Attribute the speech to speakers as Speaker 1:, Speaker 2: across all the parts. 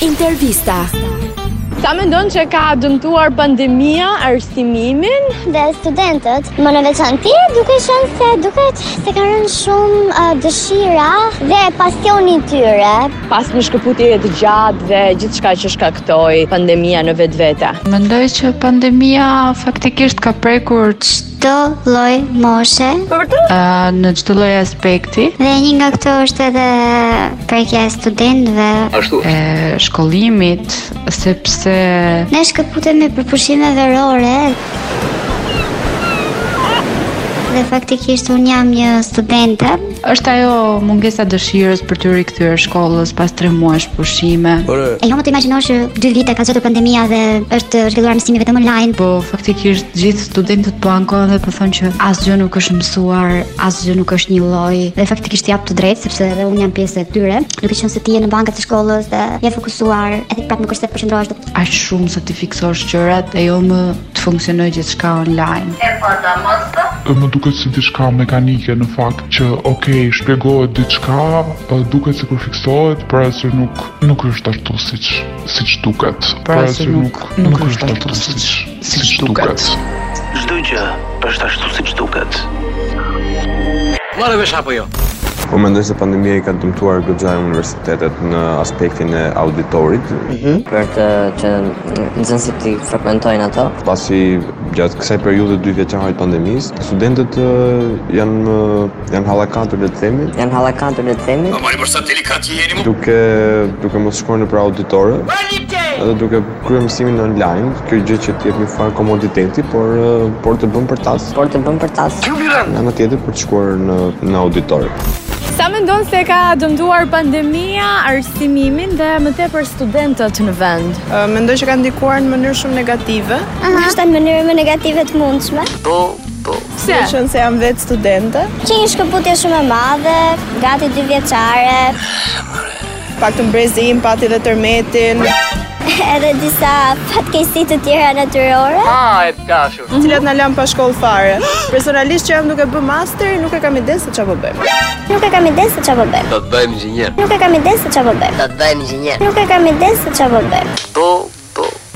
Speaker 1: Intervista.
Speaker 2: Sa mendon që ka dëmtuar pandemia arsimimin?
Speaker 3: dhe studentët më në veçanti duke shënë se duket se kanë rënë shumë uh, dëshira dhe pasioni i tyre.
Speaker 2: Pas një shkëputje të gjatë dhe gjithçka që shkaktoi pandemia në vetvete.
Speaker 4: Mendoj që pandemia faktikisht ka prekur
Speaker 3: Do lloj moshe
Speaker 5: Po
Speaker 4: uh, në çdo lloj aspekti,
Speaker 3: dhe një nga këto është edhe prekja e studentëve.
Speaker 4: e shkollimit, sepse
Speaker 3: Ne shkëputemi për pushime verore. Dhe faktikisht unë jam një studente.
Speaker 4: është ajo mungesa dëshirës për të rikthyer shkollës pas 3 muajsh pushime.
Speaker 3: E jo më të imaginosh që 2 vite ka zgjatur pandemia dhe është zhvilluar mësimi vetëm online.
Speaker 4: Po faktikisht gjithë studentët po ankohen dhe po thonë që asgjë nuk është mësuar, asgjë nuk është një lloj.
Speaker 3: Dhe faktikisht jap të drejtë sepse edhe unë jam pjesë e tyre, duke qenë se ti je në bankat e shkollës dhe je fokusuar, edhe prapë nuk është se të përqendrohesh dot.
Speaker 4: Aq shumë sa ti fiksosh gjërat e jo më të funksionojë gjithçka online.
Speaker 6: më duket si diçka mekanike në fakt që okay, shpjegohet diçka, ë, duket sikur fiksohet, por asë nuk nuk është ashtu siç siç duket. Por
Speaker 4: asë nuk- nuk është ashtu siç- siç duket.
Speaker 7: Çdo gjë është ashtu siç duket.
Speaker 3: jo.
Speaker 8: Unë Po mendoj se pandemia i ka dëmtuar goxha universitetet në aspektin e auditorit,
Speaker 9: për të që nxënësit të frekuentojnë ato.
Speaker 8: pasi gjatë kësaj periudhe dy vjeçarit pandemisë, studentët ë, janë më- janë hallakatur le të themi,
Speaker 9: Janë hallakatur le të themi.
Speaker 8: duke duke mos shkuar nëpër auditore. Edhe duke kryer mësimin online, kjo gjë që të jep një farë komoditeti, por ë, por të bën për tas.
Speaker 9: Por të bën për tas.
Speaker 8: Nga ana tjetër për të shkuar në në auditor.
Speaker 2: Sa mendon se ka dëmtuar pandemia arsimimin dhe më tepër studentët në vend?
Speaker 5: Mendoj që ka ndikuar në mënyrë shumë negative,
Speaker 3: Është në mënyrë më negative të mundshme.
Speaker 2: Pse?
Speaker 5: qënë se jam vetë studente,
Speaker 3: Që një shkëputje shumë e madhe, gati 2 vjeçare,
Speaker 5: pak të mbrezi im pati dhe tërmetin,
Speaker 3: edhe disa fatkeqësi të tjera natyrore.
Speaker 2: Mhm.
Speaker 5: të cilat na lënë pa shkollë fare. Personalisht që jam duke bë master, nuk e kam ide se çfarë po bëj.
Speaker 3: Nuk e kam ide se çfarë po bëj. Do të bëjmë inxhinier. Nuk e kam ide se çfarë po bëj.
Speaker 9: Do të bëjmë inxhinier.
Speaker 3: Nuk e kam ide se çfarë po bëj.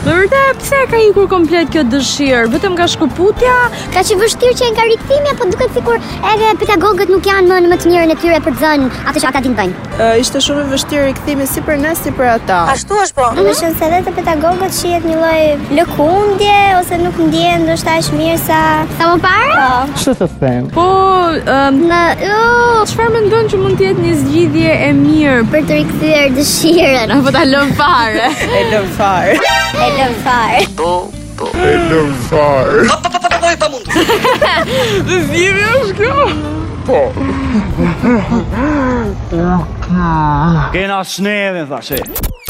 Speaker 2: Në vërtet, pse ka ikur komplet kjo dëshirë? Vetëm nga shkëputja?
Speaker 3: Ka që vështirë që e nga rikëtimi, apo duket sikur edhe pedagogët nuk janë më në më të mirën e tyre për të zënë atë që ata din bëjnë.
Speaker 5: Ë, Ishte shumë e vështirë rikthimi si për ne si për ata.
Speaker 2: Ah.
Speaker 3: Unë shënë se edhe të pedagogët shihet një lloj lëkundje ose nuk ndjen ndoshta aq mirë sa sa më parë.
Speaker 2: Po, ëm,
Speaker 3: Në u,
Speaker 2: çfarë mendon që mund të jetë një zgjidhje e mirë?
Speaker 3: për të rikthyer dëshirën
Speaker 2: Apo ta lëm fare?
Speaker 5: E lëm
Speaker 3: e
Speaker 5: fare.
Speaker 3: lëm fare.
Speaker 2: Zgjidhje është kjo?
Speaker 10: Kena sneve, thashe.